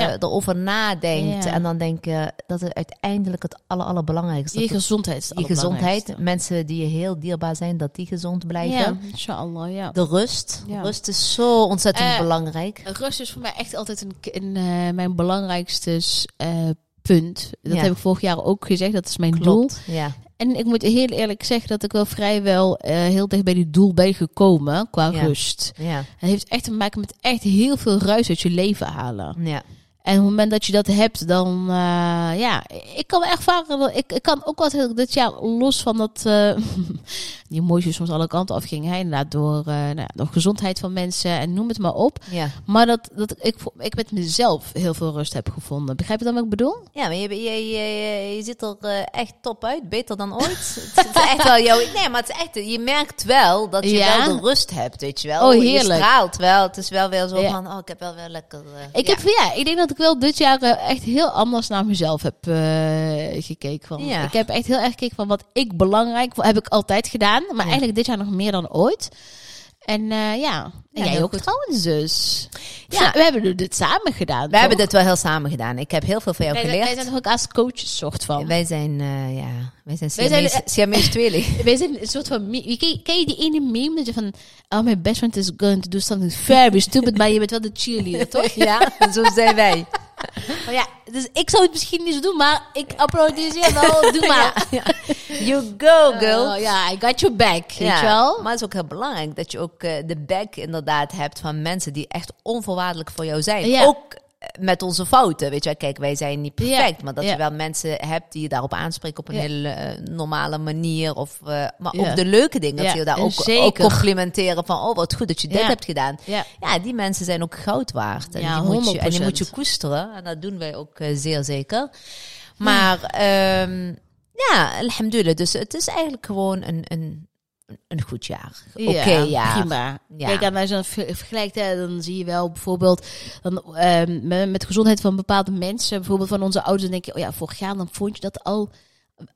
Speaker 2: ja.
Speaker 1: erover nadenkt.
Speaker 2: Ja.
Speaker 1: En dan denk je dat het uiteindelijk het aller, allerbelangrijkste
Speaker 2: Je gezondheid. is het
Speaker 1: Die gezondheid.
Speaker 2: allerbelangrijkste.
Speaker 1: Mensen die je heel dierbaar zijn, dat die gezond blijven.
Speaker 2: Ja, inshallah, ja.
Speaker 1: De rust.
Speaker 2: Ja.
Speaker 1: Rust is zo ontzettend
Speaker 2: Eh,
Speaker 1: belangrijk.
Speaker 2: Rust is voor mij echt altijd een, een, eh, mijn belangrijkste eh, punt. Dat
Speaker 1: Ja.
Speaker 2: heb ik vorig jaar ook gezegd. Dat is mijn doel.
Speaker 1: Klopt. Ja.
Speaker 2: En ik moet heel eerlijk zeggen dat ik wel vrijwel eh, heel dicht bij die doel ben gekomen qua
Speaker 1: Ja.
Speaker 2: rust.
Speaker 1: Ja.
Speaker 2: Het heeft echt te maken met echt heel veel ruis uit je leven halen.
Speaker 1: ja.
Speaker 2: En op het moment dat je dat hebt, dan eh, ja, ik kan ervaren. dat- Ik, ik kan ook wat heel- dit jaar los van dat eh, die mooisjes soms alle kanten afging. Hè, inderdaad, door, eh, nou, ja, door gezondheid van mensen en noem het maar op.
Speaker 1: ja.
Speaker 2: Maar dat, dat ik, vo- ik met mezelf heel veel rust heb gevonden. Begrijp je dan wat ik bedoel?
Speaker 1: Ja, maar je, je, je, je ziet er eh, echt top uit. Beter dan ooit. het is echt wel jouw... Nee, maar het is echt... Je merkt wel dat je
Speaker 2: Ja.
Speaker 1: wel de rust hebt, weet je wel.
Speaker 2: Oh,
Speaker 1: Je
Speaker 2: heerlijk.
Speaker 1: straalt wel. Het is wel weer zo
Speaker 2: Ja.
Speaker 1: van... Oh, ik heb wel weer lekker... eh,
Speaker 2: Ik,
Speaker 1: ja.
Speaker 2: Heb, ja, ik denk dat ik wel dit jaar eh, echt heel anders naar mezelf heb eh, gekeken. Van.
Speaker 1: Ja.
Speaker 2: Ik heb echt heel erg gekeken van wat ik belangrijk vond. Heb ik altijd gedaan. Maar eigenlijk dit jaar nog meer dan ooit. En eh, ja, en
Speaker 1: heel
Speaker 2: jij ook
Speaker 1: goed.
Speaker 2: trouwens dus.
Speaker 1: Ja.
Speaker 2: Ja, we hebben dit samen gedaan.
Speaker 1: We hebben dit wel heel samen gedaan. Ik heb heel veel van jou
Speaker 2: wij,
Speaker 1: geleerd.
Speaker 2: wij zijn toch ook als coaches soort van.
Speaker 1: Wij zijn, eh, ja, wij zijn
Speaker 2: Wij zijn-
Speaker 1: Siamese- Siamese tweeling.
Speaker 2: Wij zijn een soort van... meme- Ken je, ken je die ene meme dat je van... Oh, my best friend is going to do something very stupid, maar je bent wel de cheerleader, toch?
Speaker 1: ja, zo zijn wij.
Speaker 2: Maar ja, dus ik zou het misschien niet zo doen, maar ik applaudisseer wel. Doe maar.
Speaker 1: You go, girl.
Speaker 2: Oh, ja, I got your back, weet
Speaker 1: Ja,
Speaker 2: je wel?
Speaker 1: Maar het is ook heel belangrijk dat je ook eh, de back inderdaad hebt van mensen die echt onvoorwaardelijk voor jou zijn.
Speaker 2: Ja.
Speaker 1: Ook eh, met onze fouten. Weet je, wel. kijk, wij zijn niet perfect.
Speaker 2: Ja,
Speaker 1: Maar dat
Speaker 2: ja.
Speaker 1: je wel mensen hebt die je daarop aanspreken op een
Speaker 2: Ja.
Speaker 1: hele eh, normale manier. Of, eh, maar
Speaker 2: Ja.
Speaker 1: ook de leuke dingen. Dat
Speaker 2: Ja,
Speaker 1: ze je daar
Speaker 2: en
Speaker 1: ook,
Speaker 2: zeker.
Speaker 1: ook complimenteren van, oh wat goed dat je dit
Speaker 2: Ja.
Speaker 1: hebt gedaan.
Speaker 2: Ja.
Speaker 1: Ja, die mensen zijn ook goud waard. En,
Speaker 2: Ja,
Speaker 1: die, moet je, en die
Speaker 2: 100%.
Speaker 1: moet je koesteren. En dat doen wij ook eh, zeer zeker. Maar ehm, ja, alhamdulillah. Dus het is eigenlijk gewoon een, een een goed jaar. Oké,
Speaker 2: Ja,
Speaker 1: ja.
Speaker 2: prima.
Speaker 1: Ja.
Speaker 2: Kijk, en als je dat ver- vergelijkt, hè, dan zie je wel bijvoorbeeld dan, ehm, me- met de gezondheid van bepaalde mensen, bijvoorbeeld van onze ouders, dan denk je, oh ja, vorig jaar dan vond je dat al,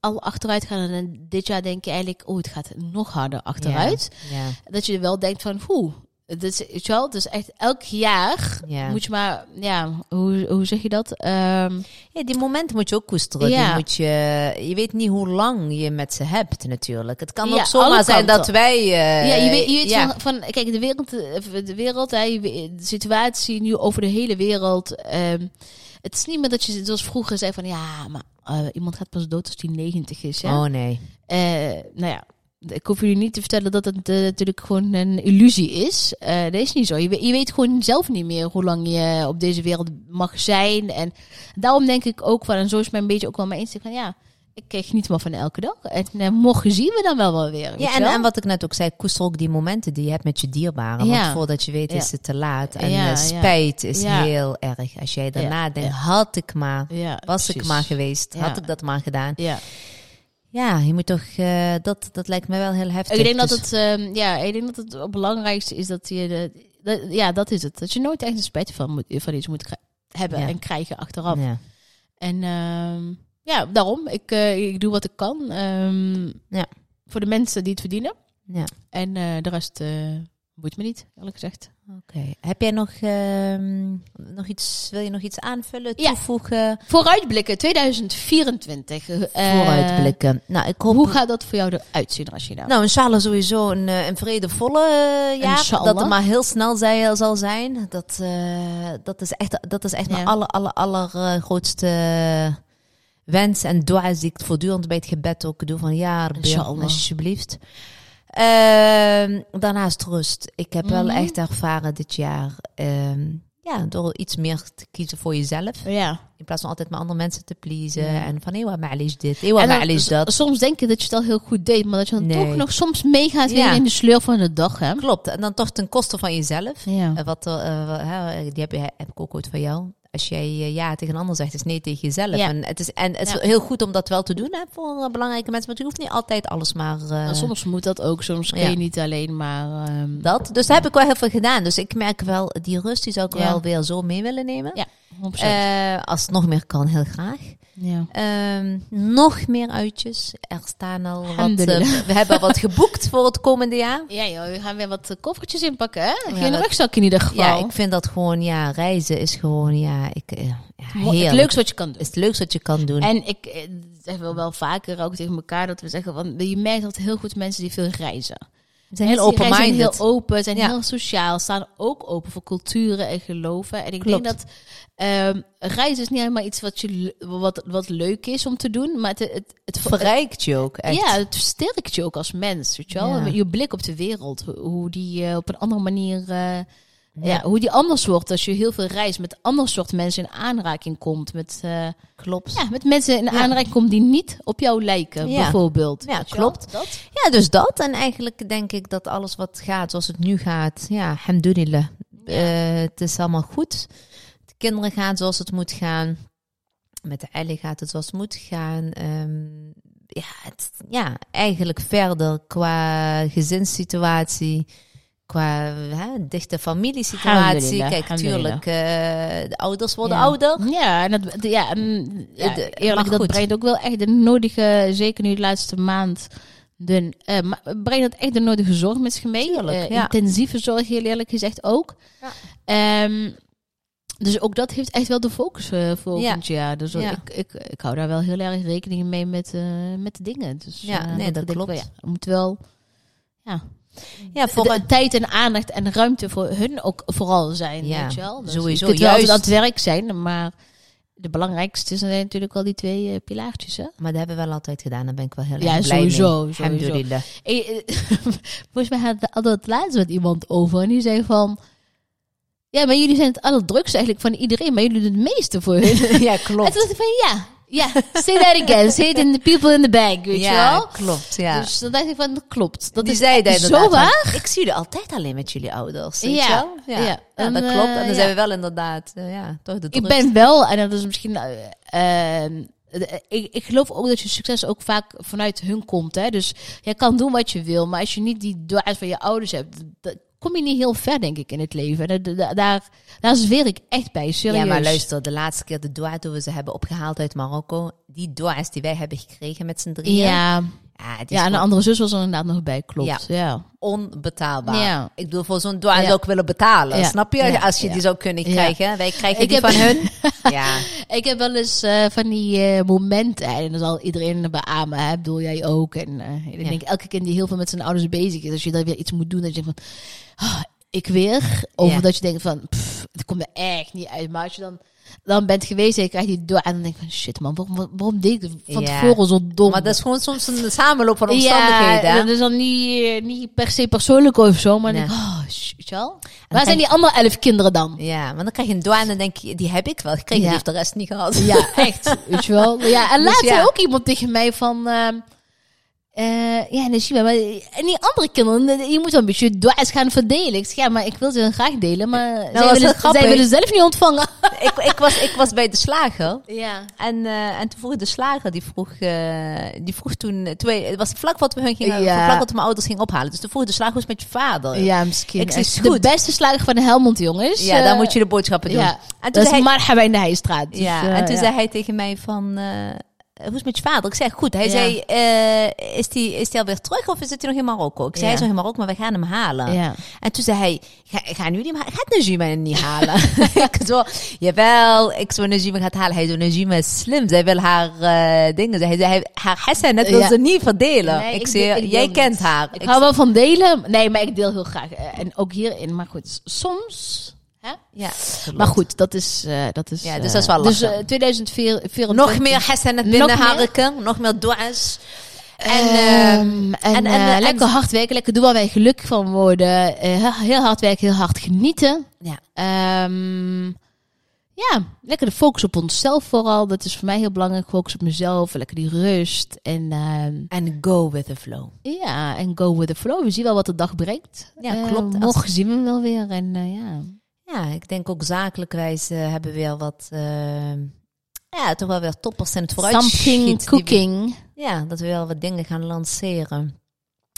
Speaker 2: al achteruit gaan. En dan dit jaar denk je eigenlijk, oh, het gaat nog harder achteruit.
Speaker 1: Ja,
Speaker 2: Dat je wel denkt van, hoe, het is, weet je wel, dus echt elk jaar
Speaker 1: ja.
Speaker 2: moet je maar, ja, hoe, hoe zeg je dat? Ehm,
Speaker 1: Ja, die momenten moet je ook koesteren. Die
Speaker 2: Ja.
Speaker 1: moet je, je weet niet hoe lang je met ze hebt natuurlijk. Het kan
Speaker 2: Ja,
Speaker 1: ook
Speaker 2: alle
Speaker 1: zomaar zijn
Speaker 2: kanten.
Speaker 1: dat wij... eh,
Speaker 2: ja, je weet, je weet
Speaker 1: ja.
Speaker 2: Van, van- kijk, de wereld, eh, de, wereld hè, je weet- de situatie nu over de hele wereld. ehm, het is niet meer dat je zoals vroeger zei van ja, maar eh, iemand gaat pas dood als die 90 is. Hè?
Speaker 1: Oh nee.
Speaker 2: Eh, nou ja, ik hoef jullie niet te vertellen dat het eh, natuurlijk gewoon een illusie is. Eh, dat is niet zo. Je, we- je weet gewoon zelf niet meer hoe lang je op deze wereld mag zijn. En daarom denk ik ook van, en zo is mijn beetje ook wel mijn insteek van ja. Ik eh, geniet maar van elke dag. En eh, morgen zien we dan wel wel weer. weet
Speaker 1: Ja,
Speaker 2: je
Speaker 1: en,
Speaker 2: wel?
Speaker 1: en wat ik net ook zei, koester ook die momenten die je hebt met je dierbaren.
Speaker 2: Ja.
Speaker 1: Want voordat je weet
Speaker 2: Ja.
Speaker 1: is het te laat. En
Speaker 2: Ja,
Speaker 1: eh,
Speaker 2: ja.
Speaker 1: spijt is
Speaker 2: Ja.
Speaker 1: heel erg. Als jij daarna
Speaker 2: Ja,
Speaker 1: denkt,
Speaker 2: ja.
Speaker 1: had ik maar,
Speaker 2: Ja,
Speaker 1: was ik
Speaker 2: precies.
Speaker 1: maar geweest, Dus
Speaker 2: Ja.
Speaker 1: had ik dat maar gedaan.
Speaker 2: Ja.
Speaker 1: Ja, je moet toch, eh, dat, dat lijkt me wel heel heftig.
Speaker 2: Ik denk dat
Speaker 1: Dus-
Speaker 2: het, ehm, ja, ik denk dat het belangrijkste is dat je, de, dat- ja, dat is het. Dat je nooit echt een spijt van, moet, van iets moet kri- hebben
Speaker 1: Ja.
Speaker 2: en krijgen achteraf.
Speaker 1: Ja.
Speaker 2: En ehm, ja, daarom. Ik, eh, ik doe wat ik kan. ehm,
Speaker 1: Ja.
Speaker 2: Voor de mensen die het verdienen.
Speaker 1: Ja.
Speaker 2: En eh, de rest eh boeit me niet, eerlijk gezegd.
Speaker 1: Oké, heb jij nog, ehm, nog iets, wil je nog iets aanvullen,
Speaker 2: Ja.
Speaker 1: toevoegen?
Speaker 2: Vooruitblikken 2024. eh,
Speaker 1: Vooruitblikken. Nou, ik hoop...
Speaker 2: Hoe gaat dat voor jou eruit zien, Rashida?
Speaker 1: Nou, inshallah sowieso een, eh, een vredevolle eh, jaar.
Speaker 2: Inshallah.
Speaker 1: Dat het maar heel snel zij- eh, zal zijn. Dat, eh, dat is echt, dat is echt
Speaker 2: Ja.
Speaker 1: mijn aller, aller, aller eh, grootste wens en dua's die ik voortdurend bij het gebed ook doe. Van ja, Rabbi,
Speaker 2: Inshallah.
Speaker 1: alsjeblieft. Ehm, daarnaast rust. Ik heb
Speaker 2: Mhm.
Speaker 1: wel echt ervaren dit jaar... ehm, ja, door iets meer te kiezen voor jezelf.
Speaker 2: Nou, ja.
Speaker 1: In plaats van altijd maar andere mensen te pleasen.
Speaker 2: Ja.
Speaker 1: En van, ewa ma'lish dit, ewa
Speaker 2: En dan-
Speaker 1: ma'lish dat.
Speaker 2: Soms denk je dat je het al heel goed deed, maar dat je dan
Speaker 1: Nee.
Speaker 2: toch nog soms meegaat weer
Speaker 1: Ja.
Speaker 2: in de sleur van de dag, hè?
Speaker 1: Klopt. En dan toch ten koste van jezelf.
Speaker 2: Ja.
Speaker 1: Eh, Wat, eh, wa- hè, die heb, je- heb ik ook ooit van jou. Als jij eh, ja tegen een ander zegt, is nee tegen jezelf.
Speaker 2: Ja.
Speaker 1: En het is, en het is
Speaker 2: Ja.
Speaker 1: heel goed om dat wel te doen hè, voor eh, belangrijke mensen. Want je hoeft niet altijd alles maar... eh,
Speaker 2: En Nou, soms moet dat ook, soms kun je
Speaker 1: ja.
Speaker 2: niet alleen maar... ehm,
Speaker 1: dat. Dus daar heb ik wel heel veel gedaan. Dus ik merk wel, die rust die zou ik
Speaker 2: Ja.
Speaker 1: wel weer zo mee willen nemen.
Speaker 2: ja, 100%.
Speaker 1: Eh, als het nog meer kan, heel graag.
Speaker 2: ja.
Speaker 1: Ehm, nog meer uitjes. Er staan al wat... eh,
Speaker 2: Alhamdulillah.
Speaker 1: we hebben wat geboekt voor het komende jaar.
Speaker 2: ja joh, we gaan weer wat eh, koffertjes inpakken, hè? Geen
Speaker 1: dat-
Speaker 2: rugzak in ieder geval.
Speaker 1: Ja, ik vind dat gewoon, ja, reizen is gewoon, ja, ik, eh, ja
Speaker 2: Mo-
Speaker 1: heerlijk.
Speaker 2: Het leukste wat je kan
Speaker 1: is
Speaker 2: doen.
Speaker 1: het leukste wat je kan doen.
Speaker 2: En ik eh, zeg wel, wel vaker ook tegen elkaar dat we zeggen, want je merkt dat heel goed mensen die veel reizen.
Speaker 1: we zijn heel
Speaker 2: Mensen die reizen
Speaker 1: open-minded.
Speaker 2: zijn heel open, zijn
Speaker 1: Ja.
Speaker 2: heel sociaal, staan ook open voor culturen en geloven. En ik
Speaker 1: Klopt.
Speaker 2: denk dat ehm, reizen is niet helemaal iets wat, je, le- wat, wat leuk is om te doen, maar het, het, het,
Speaker 1: Het verrijkt je ook echt.
Speaker 2: Ja, het versterkt je ook als mens, weet je wel?
Speaker 1: Ja.
Speaker 2: Met Je blik op de wereld, ho- hoe die eh, op een andere manier... eh, ja. hoe die anders wordt als je heel veel reist, met ander soort mensen in aanraking komt. Met, eh,
Speaker 1: klopt. Ja.
Speaker 2: ja, met mensen in aanraking komt die niet op jou lijken,
Speaker 1: Ja.
Speaker 2: bijvoorbeeld.
Speaker 1: Ja,
Speaker 2: Weet je wel?
Speaker 1: klopt.
Speaker 2: Dat?
Speaker 1: dus dat. En eigenlijk denk ik dat alles wat gaat zoals het nu gaat, ja, alhamdulillah. Eh, het is allemaal goed. De kinderen gaan zoals het moet gaan. Met de Ellie gaat het zoals het moet gaan. Ehm, ja, het, ja, eigenlijk verder qua gezinssituatie, qua hè, dichte familiesituatie.
Speaker 2: Alhamdulillah,
Speaker 1: Kijk,
Speaker 2: alhamdulillah.
Speaker 1: tuurlijk, eh, de ouders worden
Speaker 2: Ja.
Speaker 1: ouder.
Speaker 2: Ja, en dat, ja, en, ja,
Speaker 1: De-
Speaker 2: eerlijk,
Speaker 1: maar
Speaker 2: dat
Speaker 1: goed.
Speaker 2: brengt ook wel echt de nodige, zeker nu de laatste maand, de, eh, maar het brengt dat echt de nodige zorg met zich mee.
Speaker 1: Tuurlijk,
Speaker 2: Eh,
Speaker 1: ja.
Speaker 2: Intensieve zorg, heel eerlijk gezegd ook.
Speaker 1: Ja.
Speaker 2: Ehm, dus ook dat heeft echt wel de focus eh, volgend jaar. Dus
Speaker 1: Ja.
Speaker 2: ik, ik, ik hou daar wel heel erg rekening mee met, eh, met de dingen. Dus,
Speaker 1: Ja,
Speaker 2: eh,
Speaker 1: nee,
Speaker 2: ik
Speaker 1: dat
Speaker 2: denk wel,
Speaker 1: klopt.
Speaker 2: ja, we moeten wel Mm.
Speaker 1: Ja, voor
Speaker 2: de tijd en aandacht en ruimte voor hun ook vooral zijn.
Speaker 1: Ja,
Speaker 2: weet je wel? Dus
Speaker 1: sowieso,
Speaker 2: Je kunt wel altijd aan
Speaker 1: juist.
Speaker 2: het werk zijn, maar de belangrijkste zijn natuurlijk wel die twee eh, pilaartjes. Hè?
Speaker 1: Maar dat hebben we wel altijd gedaan. Daar ben ik wel heel erg
Speaker 2: Ja,
Speaker 1: blij
Speaker 2: sowieso,
Speaker 1: mee.
Speaker 2: sowieso.
Speaker 1: Alhamdulillah.
Speaker 2: Eh, eh, Volgens mij hadden we hadden we het laatst met iemand over en die zei van... Ja, maar jullie zijn het allerdrukste eigenlijk van iedereen, maar jullie doen het meeste voor hun.
Speaker 1: ja,
Speaker 2: En toen
Speaker 1: klopt.
Speaker 2: dacht ik van ja, ja, say that again, say it in the people in the bag, weet je
Speaker 1: Ja,
Speaker 2: wel.
Speaker 1: klopt. Ja.
Speaker 2: Dus dan dacht ik van, dat klopt. Dat
Speaker 1: Die
Speaker 2: is
Speaker 1: zei dat
Speaker 2: zo
Speaker 1: inderdaad,
Speaker 2: waar.
Speaker 1: want Ik zie jullie altijd alleen met jullie ouders. Weet
Speaker 2: Ja,
Speaker 1: je wel? Ja.
Speaker 2: ja.
Speaker 1: Ja,
Speaker 2: En,
Speaker 1: dat
Speaker 2: eh,
Speaker 1: klopt. En dan
Speaker 2: ja.
Speaker 1: zijn we wel inderdaad, eh, ja, toch de
Speaker 2: Ik
Speaker 1: drukste.
Speaker 2: ben wel, en dat is misschien eh, eh, de- ik, ik geloof ook dat je succes ook vaak vanuit hun komt. Hè? Dus jij kan doen wat je wil, maar als je niet die dwaas van je ouders hebt, dan kom je niet heel ver, denk ik, in het leven. Da- da- da- daar, daar zweer ik echt bij, serieus.
Speaker 1: Ja, maar luister, de laatste keer de doa die we ze hebben opgehaald uit Marokko, die doa's die wij hebben gekregen met z'n drieën,
Speaker 2: Ja,
Speaker 1: ja, het is
Speaker 2: ja en een
Speaker 1: gewoon
Speaker 2: andere zus was er inderdaad nog bij, klopt. Ja. Ja.
Speaker 1: onbetaalbaar.
Speaker 2: Ja.
Speaker 1: Ik bedoel, voor zo'n doa
Speaker 2: Ja.
Speaker 1: zou ik willen betalen,
Speaker 2: Ja.
Speaker 1: snap je?
Speaker 2: Ja.
Speaker 1: Als je
Speaker 2: Ja.
Speaker 1: die zou kunnen
Speaker 2: Ja.
Speaker 1: krijgen. Wij krijgen
Speaker 2: Ik
Speaker 1: die
Speaker 2: heb-
Speaker 1: van hun. ja.
Speaker 2: Ik heb wel eens eh, van die eh, momenten, en dat zal iedereen beamen, hè? bedoel jij ook. En eh, ik
Speaker 1: Ja.
Speaker 2: denk elke kind die heel veel met zijn ouders bezig is, als je daar weer iets moet doen, dat je denkt van, "Ah, ik weer. Of
Speaker 1: Ja.
Speaker 2: dat je denkt van, pff, het komt er echt niet uit. Maar als je dan, dan bent geweest en je krijgt die door, en dan denk je van, shit man, waarom, waarom- waarom deed ik het van
Speaker 1: Ja.
Speaker 2: tevoren zo dom?
Speaker 1: Maar dat is gewoon soms een samenloop van omstandigheden.
Speaker 2: Ja,
Speaker 1: hè?
Speaker 2: dat is dan niet, eh, niet per se persoonlijk of zo, maar dan
Speaker 1: Nee.
Speaker 2: denk ik, oh, shit, wel. Waar
Speaker 1: kijk-
Speaker 2: zijn die andere elf kinderen dan?
Speaker 1: Ja, maar dan krijg je een douane en dan denk je, die heb ik wel gekregen,
Speaker 2: Ja.
Speaker 1: die heeft de rest niet gehad.
Speaker 2: Ja, echt. Weet je wel? Ja, en
Speaker 1: Dus
Speaker 2: laatst
Speaker 1: ja.
Speaker 2: zei ook iemand tegen mij van... ehm, eh, ja, nee, zie je, maar en die andere kinderen, eh, je moet wel een beetje dwaas gaan verdelen. Ik zeg, ja, maar ik wil ze heel graag delen, maar
Speaker 1: Nou, was
Speaker 2: zij,
Speaker 1: heel
Speaker 2: willen,
Speaker 1: grappig.
Speaker 2: zij willen zelf niet ontvangen.
Speaker 1: ik, ik, was, ik was bij de slager.
Speaker 2: Ja.
Speaker 1: En, eh, en toen vroeg de slager, die vroeg, eh, die vroeg toen, toen wij- het was vlak wat we hun gingen,
Speaker 2: Ja.
Speaker 1: vlak wat we mijn ouders gingen ophalen. Dus toen vroeg de slager, hoe is het met je vader?
Speaker 2: Ja, misschien.
Speaker 1: Ik zeg,
Speaker 2: echt.
Speaker 1: is
Speaker 2: de
Speaker 1: goed.
Speaker 2: beste slager van Helmond, jongens.
Speaker 1: Ja, daar
Speaker 2: Eh,
Speaker 1: moet je de boodschappen doen.
Speaker 2: Ja,
Speaker 1: en toen,
Speaker 2: dat is
Speaker 1: zei, hij,
Speaker 2: Marhaba in de Heijstraat. Dus,
Speaker 1: ja,
Speaker 2: eh,
Speaker 1: en toen
Speaker 2: ja.
Speaker 1: zei hij tegen mij van, eh, hoe is het met je vader? Ik zeg, goed. Hij
Speaker 2: Ja.
Speaker 1: zei, eh, is die, is die alweer terug of is het nog in Marokko? Ik zei,
Speaker 2: Ja.
Speaker 1: hij is nog in Marokko, maar we gaan hem halen.
Speaker 2: Ja.
Speaker 1: En toen zei hij, ga, gaan jullie hem halen? Gaat Najima hem niet halen? ik zo, jawel, ik zo Najima gaat halen. Hij zo, Najima is slim. Zij wil haar eh, dingen. Hij zei, hij- haar hassan, dat wil
Speaker 2: Ja.
Speaker 1: ze niet verdelen.
Speaker 2: Nee,
Speaker 1: ik,
Speaker 2: ik
Speaker 1: zei,
Speaker 2: deel- ik
Speaker 1: jij
Speaker 2: deel
Speaker 1: kent
Speaker 2: niet.
Speaker 1: haar.
Speaker 2: Ik
Speaker 1: Ik
Speaker 2: hou wel van delen. Nee, maar ik deel heel graag. Eh, En ook hierin. Maar goed, soms... Hè?
Speaker 1: ja.
Speaker 2: Maar goed, dat is... eh, dat is
Speaker 1: Ja, dus
Speaker 2: eh,
Speaker 1: dat is wel
Speaker 2: Dus
Speaker 1: lachen.
Speaker 2: eh, 2024...
Speaker 1: Nog meer hassan
Speaker 2: Nog meer?
Speaker 1: binnenharken. Nog meer dua's. En, ehm,
Speaker 2: Ehm, en,
Speaker 1: en-
Speaker 2: eh,
Speaker 1: en-
Speaker 2: lekker hard werken, lekker doen waar wij gelukkig van worden. Eh, he- heel hard werken, heel hard genieten.
Speaker 1: ja.
Speaker 2: Ehm, ja, lekker de focus op onszelf vooral. Dat is voor mij heel belangrijk. Focus op mezelf, lekker die rust. En ehm,
Speaker 1: En go with the flow.
Speaker 2: ja, en go with the flow. We zien wel wat de dag brengt.
Speaker 1: Ja,
Speaker 2: Eh,
Speaker 1: klopt. Als-
Speaker 2: morgen zien we hem wel weer. En eh, ja,
Speaker 1: Ja, ik denk ook zakelijkwijs eh, hebben we weer wat... ehm, ja, toch wel weer toppers in het vooruitzicht.
Speaker 2: something cooking.
Speaker 1: Ja, dat we wel wat dingen gaan lanceren.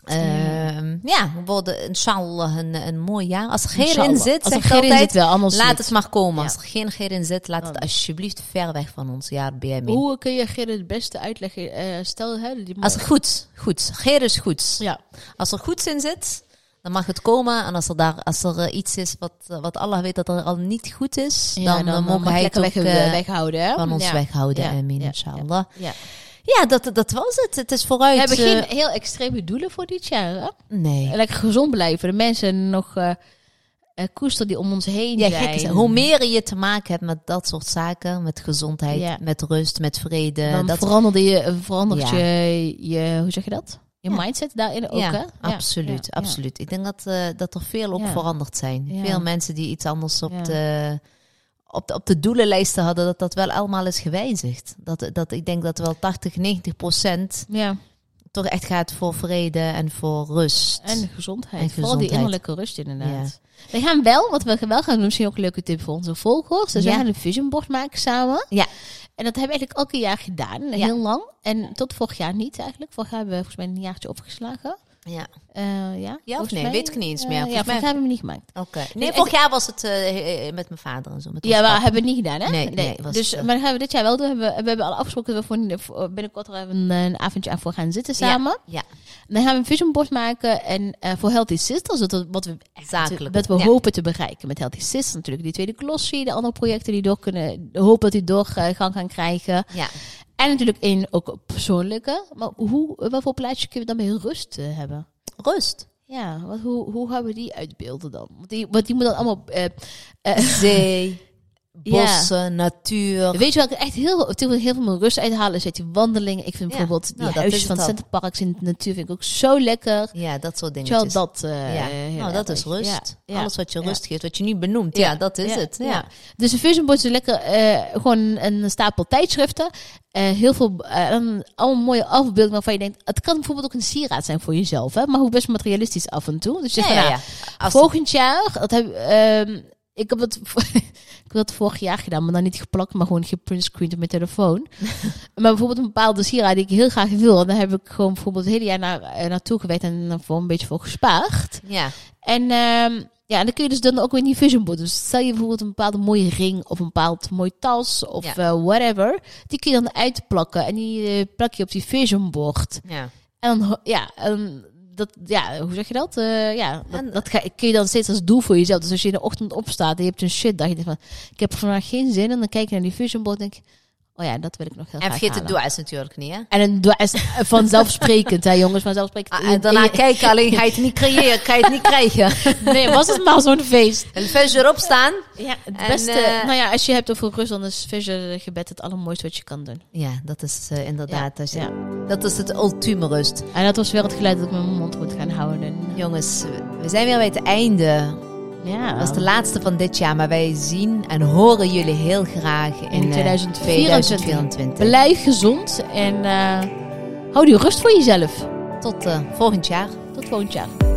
Speaker 1: Ehm, ja, we worden inshallah een, een mooi jaar. Als er geen in
Speaker 2: Inshallah.
Speaker 1: zit,
Speaker 2: Als er
Speaker 1: zeg ik
Speaker 2: geen in
Speaker 1: altijd,
Speaker 2: zit, wel allemaal
Speaker 1: laat
Speaker 2: zit.
Speaker 1: het maar komen.
Speaker 2: Ja.
Speaker 1: Als er geen geer in zit, laat het
Speaker 2: Dan.
Speaker 1: alsjeblieft ver weg van ons jaar BMI.
Speaker 2: Hoe kun je Gerrit het beste uitleggen? Eh, stel, hè, die
Speaker 1: Als er goed, goed. Geer is goed.
Speaker 2: ja.
Speaker 1: Als er goed in zit, dan mag het komen. En als er, daar, als er eh, iets is wat, eh, wat Allah weet dat er al niet goed is,
Speaker 2: Ja,
Speaker 1: dan, eh, mogen
Speaker 2: mag
Speaker 1: hij het
Speaker 2: lekker
Speaker 1: ook
Speaker 2: weg,
Speaker 1: eh,
Speaker 2: weghouden. hè?
Speaker 1: van ons
Speaker 2: Oh, Ja.
Speaker 1: weghouden.
Speaker 2: Ja,
Speaker 1: Amin,
Speaker 2: ja,
Speaker 1: inshallah.
Speaker 2: ja.
Speaker 1: Ja, dat, dat was het. Het is
Speaker 2: We
Speaker 1: vooruit.
Speaker 2: hebben
Speaker 1: eh,
Speaker 2: geen heel extreme doelen voor dit jaar. Hè?
Speaker 1: nee.
Speaker 2: Lekker gezond blijven. De mensen nog eh eh, koester die om ons heen
Speaker 1: Ja,
Speaker 2: zijn.
Speaker 1: gek. is- Hoe meer je te maken hebt met dat soort zaken, met gezondheid,
Speaker 2: Ja.
Speaker 1: met rust, met vrede.
Speaker 2: dan
Speaker 1: dat
Speaker 2: veranderde je, eh, verandert
Speaker 1: Ja.
Speaker 2: je, je, hoe zeg je dat? Je
Speaker 1: Ja.
Speaker 2: mindset daarin ook,
Speaker 1: ja,
Speaker 2: hè? Ja,
Speaker 1: absoluut,
Speaker 2: ja, ja.
Speaker 1: absoluut. Ik denk dat, eh, dat er veel ook
Speaker 2: Ja.
Speaker 1: veranderd zijn.
Speaker 2: Ja.
Speaker 1: Veel mensen die iets anders op,
Speaker 2: Ja.
Speaker 1: de, op, de, op de doelenlijsten hadden, dat dat wel allemaal is gewijzigd. Dat, dat ik denk dat wel 80, 90 procent
Speaker 2: Ja,
Speaker 1: toch echt gaat voor vrede en voor rust.
Speaker 2: en de gezondheid.
Speaker 1: En
Speaker 2: Vooral die
Speaker 1: gezondheid.
Speaker 2: innerlijke rust inderdaad. We gaan wel, wat we wel gaan doen, misschien ook een leuke tip voor onze volgers. Dus
Speaker 1: Ja.
Speaker 2: we gaan een vision board maken samen.
Speaker 1: Ja.
Speaker 2: En dat hebben we eigenlijk elke jaar gedaan, heel lang. En tot vorig jaar niet eigenlijk. Vorig jaar hebben we volgens mij een jaartje opgeslagen.
Speaker 1: ja.
Speaker 2: Eh, ja,
Speaker 1: of
Speaker 2: volgens
Speaker 1: nee?
Speaker 2: mij,
Speaker 1: Weet ik niet eens
Speaker 2: eh,
Speaker 1: meer.
Speaker 2: ja,
Speaker 1: Volgens mij-
Speaker 2: volgens mij hebben we hem niet gemaakt.
Speaker 1: Oké.
Speaker 2: Nee,
Speaker 1: Nee,
Speaker 2: en-
Speaker 1: vorig jaar was het eh, eh, met mijn vader en zo. Met ons
Speaker 2: Ja, we
Speaker 1: papa.
Speaker 2: hebben het niet gedaan, hè?
Speaker 1: Nee, nee, was
Speaker 2: dus,
Speaker 1: het, eh.
Speaker 2: maar dat gaan we dit jaar wel doen. We hebben, we hebben al afgesproken dat we voor, voor binnenkort er even een, een avondje aan voor gaan zitten samen.
Speaker 1: Ja.
Speaker 2: Dan gaan we een vision board maken en eh, voor Healthy Sisters, dat, we- wat we, echt-
Speaker 1: Zakelijk.
Speaker 2: dat we
Speaker 1: Ja.
Speaker 2: hopen te bereiken met Healthy Sisters. Natuurlijk die tweede glossy, de andere projecten die door kunnen, hopen dat die doorgang gaan krijgen.
Speaker 1: ja.
Speaker 2: En natuurlijk één ook persoonlijke. Maar hoe, wat voor plaatje kunnen we dan meer rust eh, hebben?
Speaker 1: Rust.
Speaker 2: Ja, wat, hoe, hoe gaan we die uitbeelden dan? Want die, want die moet dan allemaal... eh, eh,
Speaker 1: zee,
Speaker 2: Ja.
Speaker 1: bossen, natuur.
Speaker 2: weet je wel, ik echt heel, toen ik heel veel mijn rust uithalen is uit die wandelingen. Ik vind
Speaker 1: Ja,
Speaker 2: bijvoorbeeld die
Speaker 1: nou, dat
Speaker 2: huisjes
Speaker 1: is
Speaker 2: van
Speaker 1: het
Speaker 2: het
Speaker 1: al.
Speaker 2: Centerparks in de natuur vind ik ook zo lekker.
Speaker 1: Ja, dat soort
Speaker 2: Weet je wel,
Speaker 1: dingetjes.
Speaker 2: dat... eh,
Speaker 1: ja.
Speaker 2: heel
Speaker 1: nou, dat
Speaker 2: erg.
Speaker 1: is rust.
Speaker 2: Ja, ja.
Speaker 1: Alles wat je
Speaker 2: Ja.
Speaker 1: rust geeft, wat je nu benoemt. Ja, dat is
Speaker 2: Ja,
Speaker 1: het. Ja.
Speaker 2: ja. Dus een vision board is lekker eh, gewoon een stapel tijdschriften. Eh, heel veel, eh, een- allemaal mooie afbeeldingen waarvan je denkt... Het kan bijvoorbeeld ook een sieraad zijn voor jezelf, hè? Maar hoe best materialistisch af en toe. Dus je
Speaker 1: Ja,
Speaker 2: zegt van,
Speaker 1: ja,
Speaker 2: nou,
Speaker 1: ja. Als-
Speaker 2: Volgend jaar, dat heb, ehm, ik heb het. Ik wil het vorig jaar gedaan, maar dan niet geplakt, maar gewoon geprintscreened op mijn telefoon. maar bijvoorbeeld een bepaalde sieraad die ik heel graag wil. En daar heb ik gewoon bijvoorbeeld het hele jaar naar, eh, naartoe gewerkt en daarvoor een beetje voor gespaard.
Speaker 1: Ja.
Speaker 2: En ehm, ja, en dan kun je dus dan ook weer in die vision board. Dus stel je bijvoorbeeld een bepaalde mooie ring of een bepaald mooi tas of
Speaker 1: Ja.
Speaker 2: eh, whatever. Die kun je dan uitplakken en die eh, plak je op die vision board.
Speaker 1: ja.
Speaker 2: En dan, ho- ja, en dat, ja, hoe zeg je dat? Eh, ja,
Speaker 1: En-
Speaker 2: dat, dat ga, kun je dan steeds als doel voor jezelf. Dus als je in de ochtend opstaat en je hebt een shit dag, je denkt van, ik heb vandaag geen zin. En dan kijk je naar die vision board en denk je, oh ja, dat wil ik nog heel
Speaker 1: En
Speaker 2: graag
Speaker 1: vergeet de
Speaker 2: halen.
Speaker 1: dua's natuurlijk niet, hè?
Speaker 2: En een doel is vanzelfsprekend, hè jongens, vanzelfsprekend.
Speaker 1: Ah, en daarna kijken, alleen ga je het niet creëren, ga je het niet krijgen.
Speaker 2: Nee, was het maar zo'n feest.
Speaker 1: En vijf uur opstaan.
Speaker 2: Ja, het
Speaker 1: En,
Speaker 2: beste.
Speaker 1: eh,
Speaker 2: nou ja, als je hebt over rust, dan is Vision gebed het allermooiste wat je kan doen.
Speaker 1: Ja, dat is eh, inderdaad. als je-
Speaker 2: Ja.
Speaker 1: Dat is het ultieme rust.
Speaker 2: En dat was weer het geluid dat ik met mijn mond moet gaan houden.
Speaker 1: Jongens, we- we zijn weer bij het einde.
Speaker 2: Ja,
Speaker 1: Dat is de laatste van dit jaar, maar wij zien en horen jullie heel graag in,
Speaker 2: in
Speaker 1: eh,
Speaker 2: 2024.
Speaker 1: 2024.
Speaker 2: Blijf gezond en eh, hou die rust voor jezelf.
Speaker 1: Tot eh, volgend jaar.
Speaker 2: Tot volgend jaar.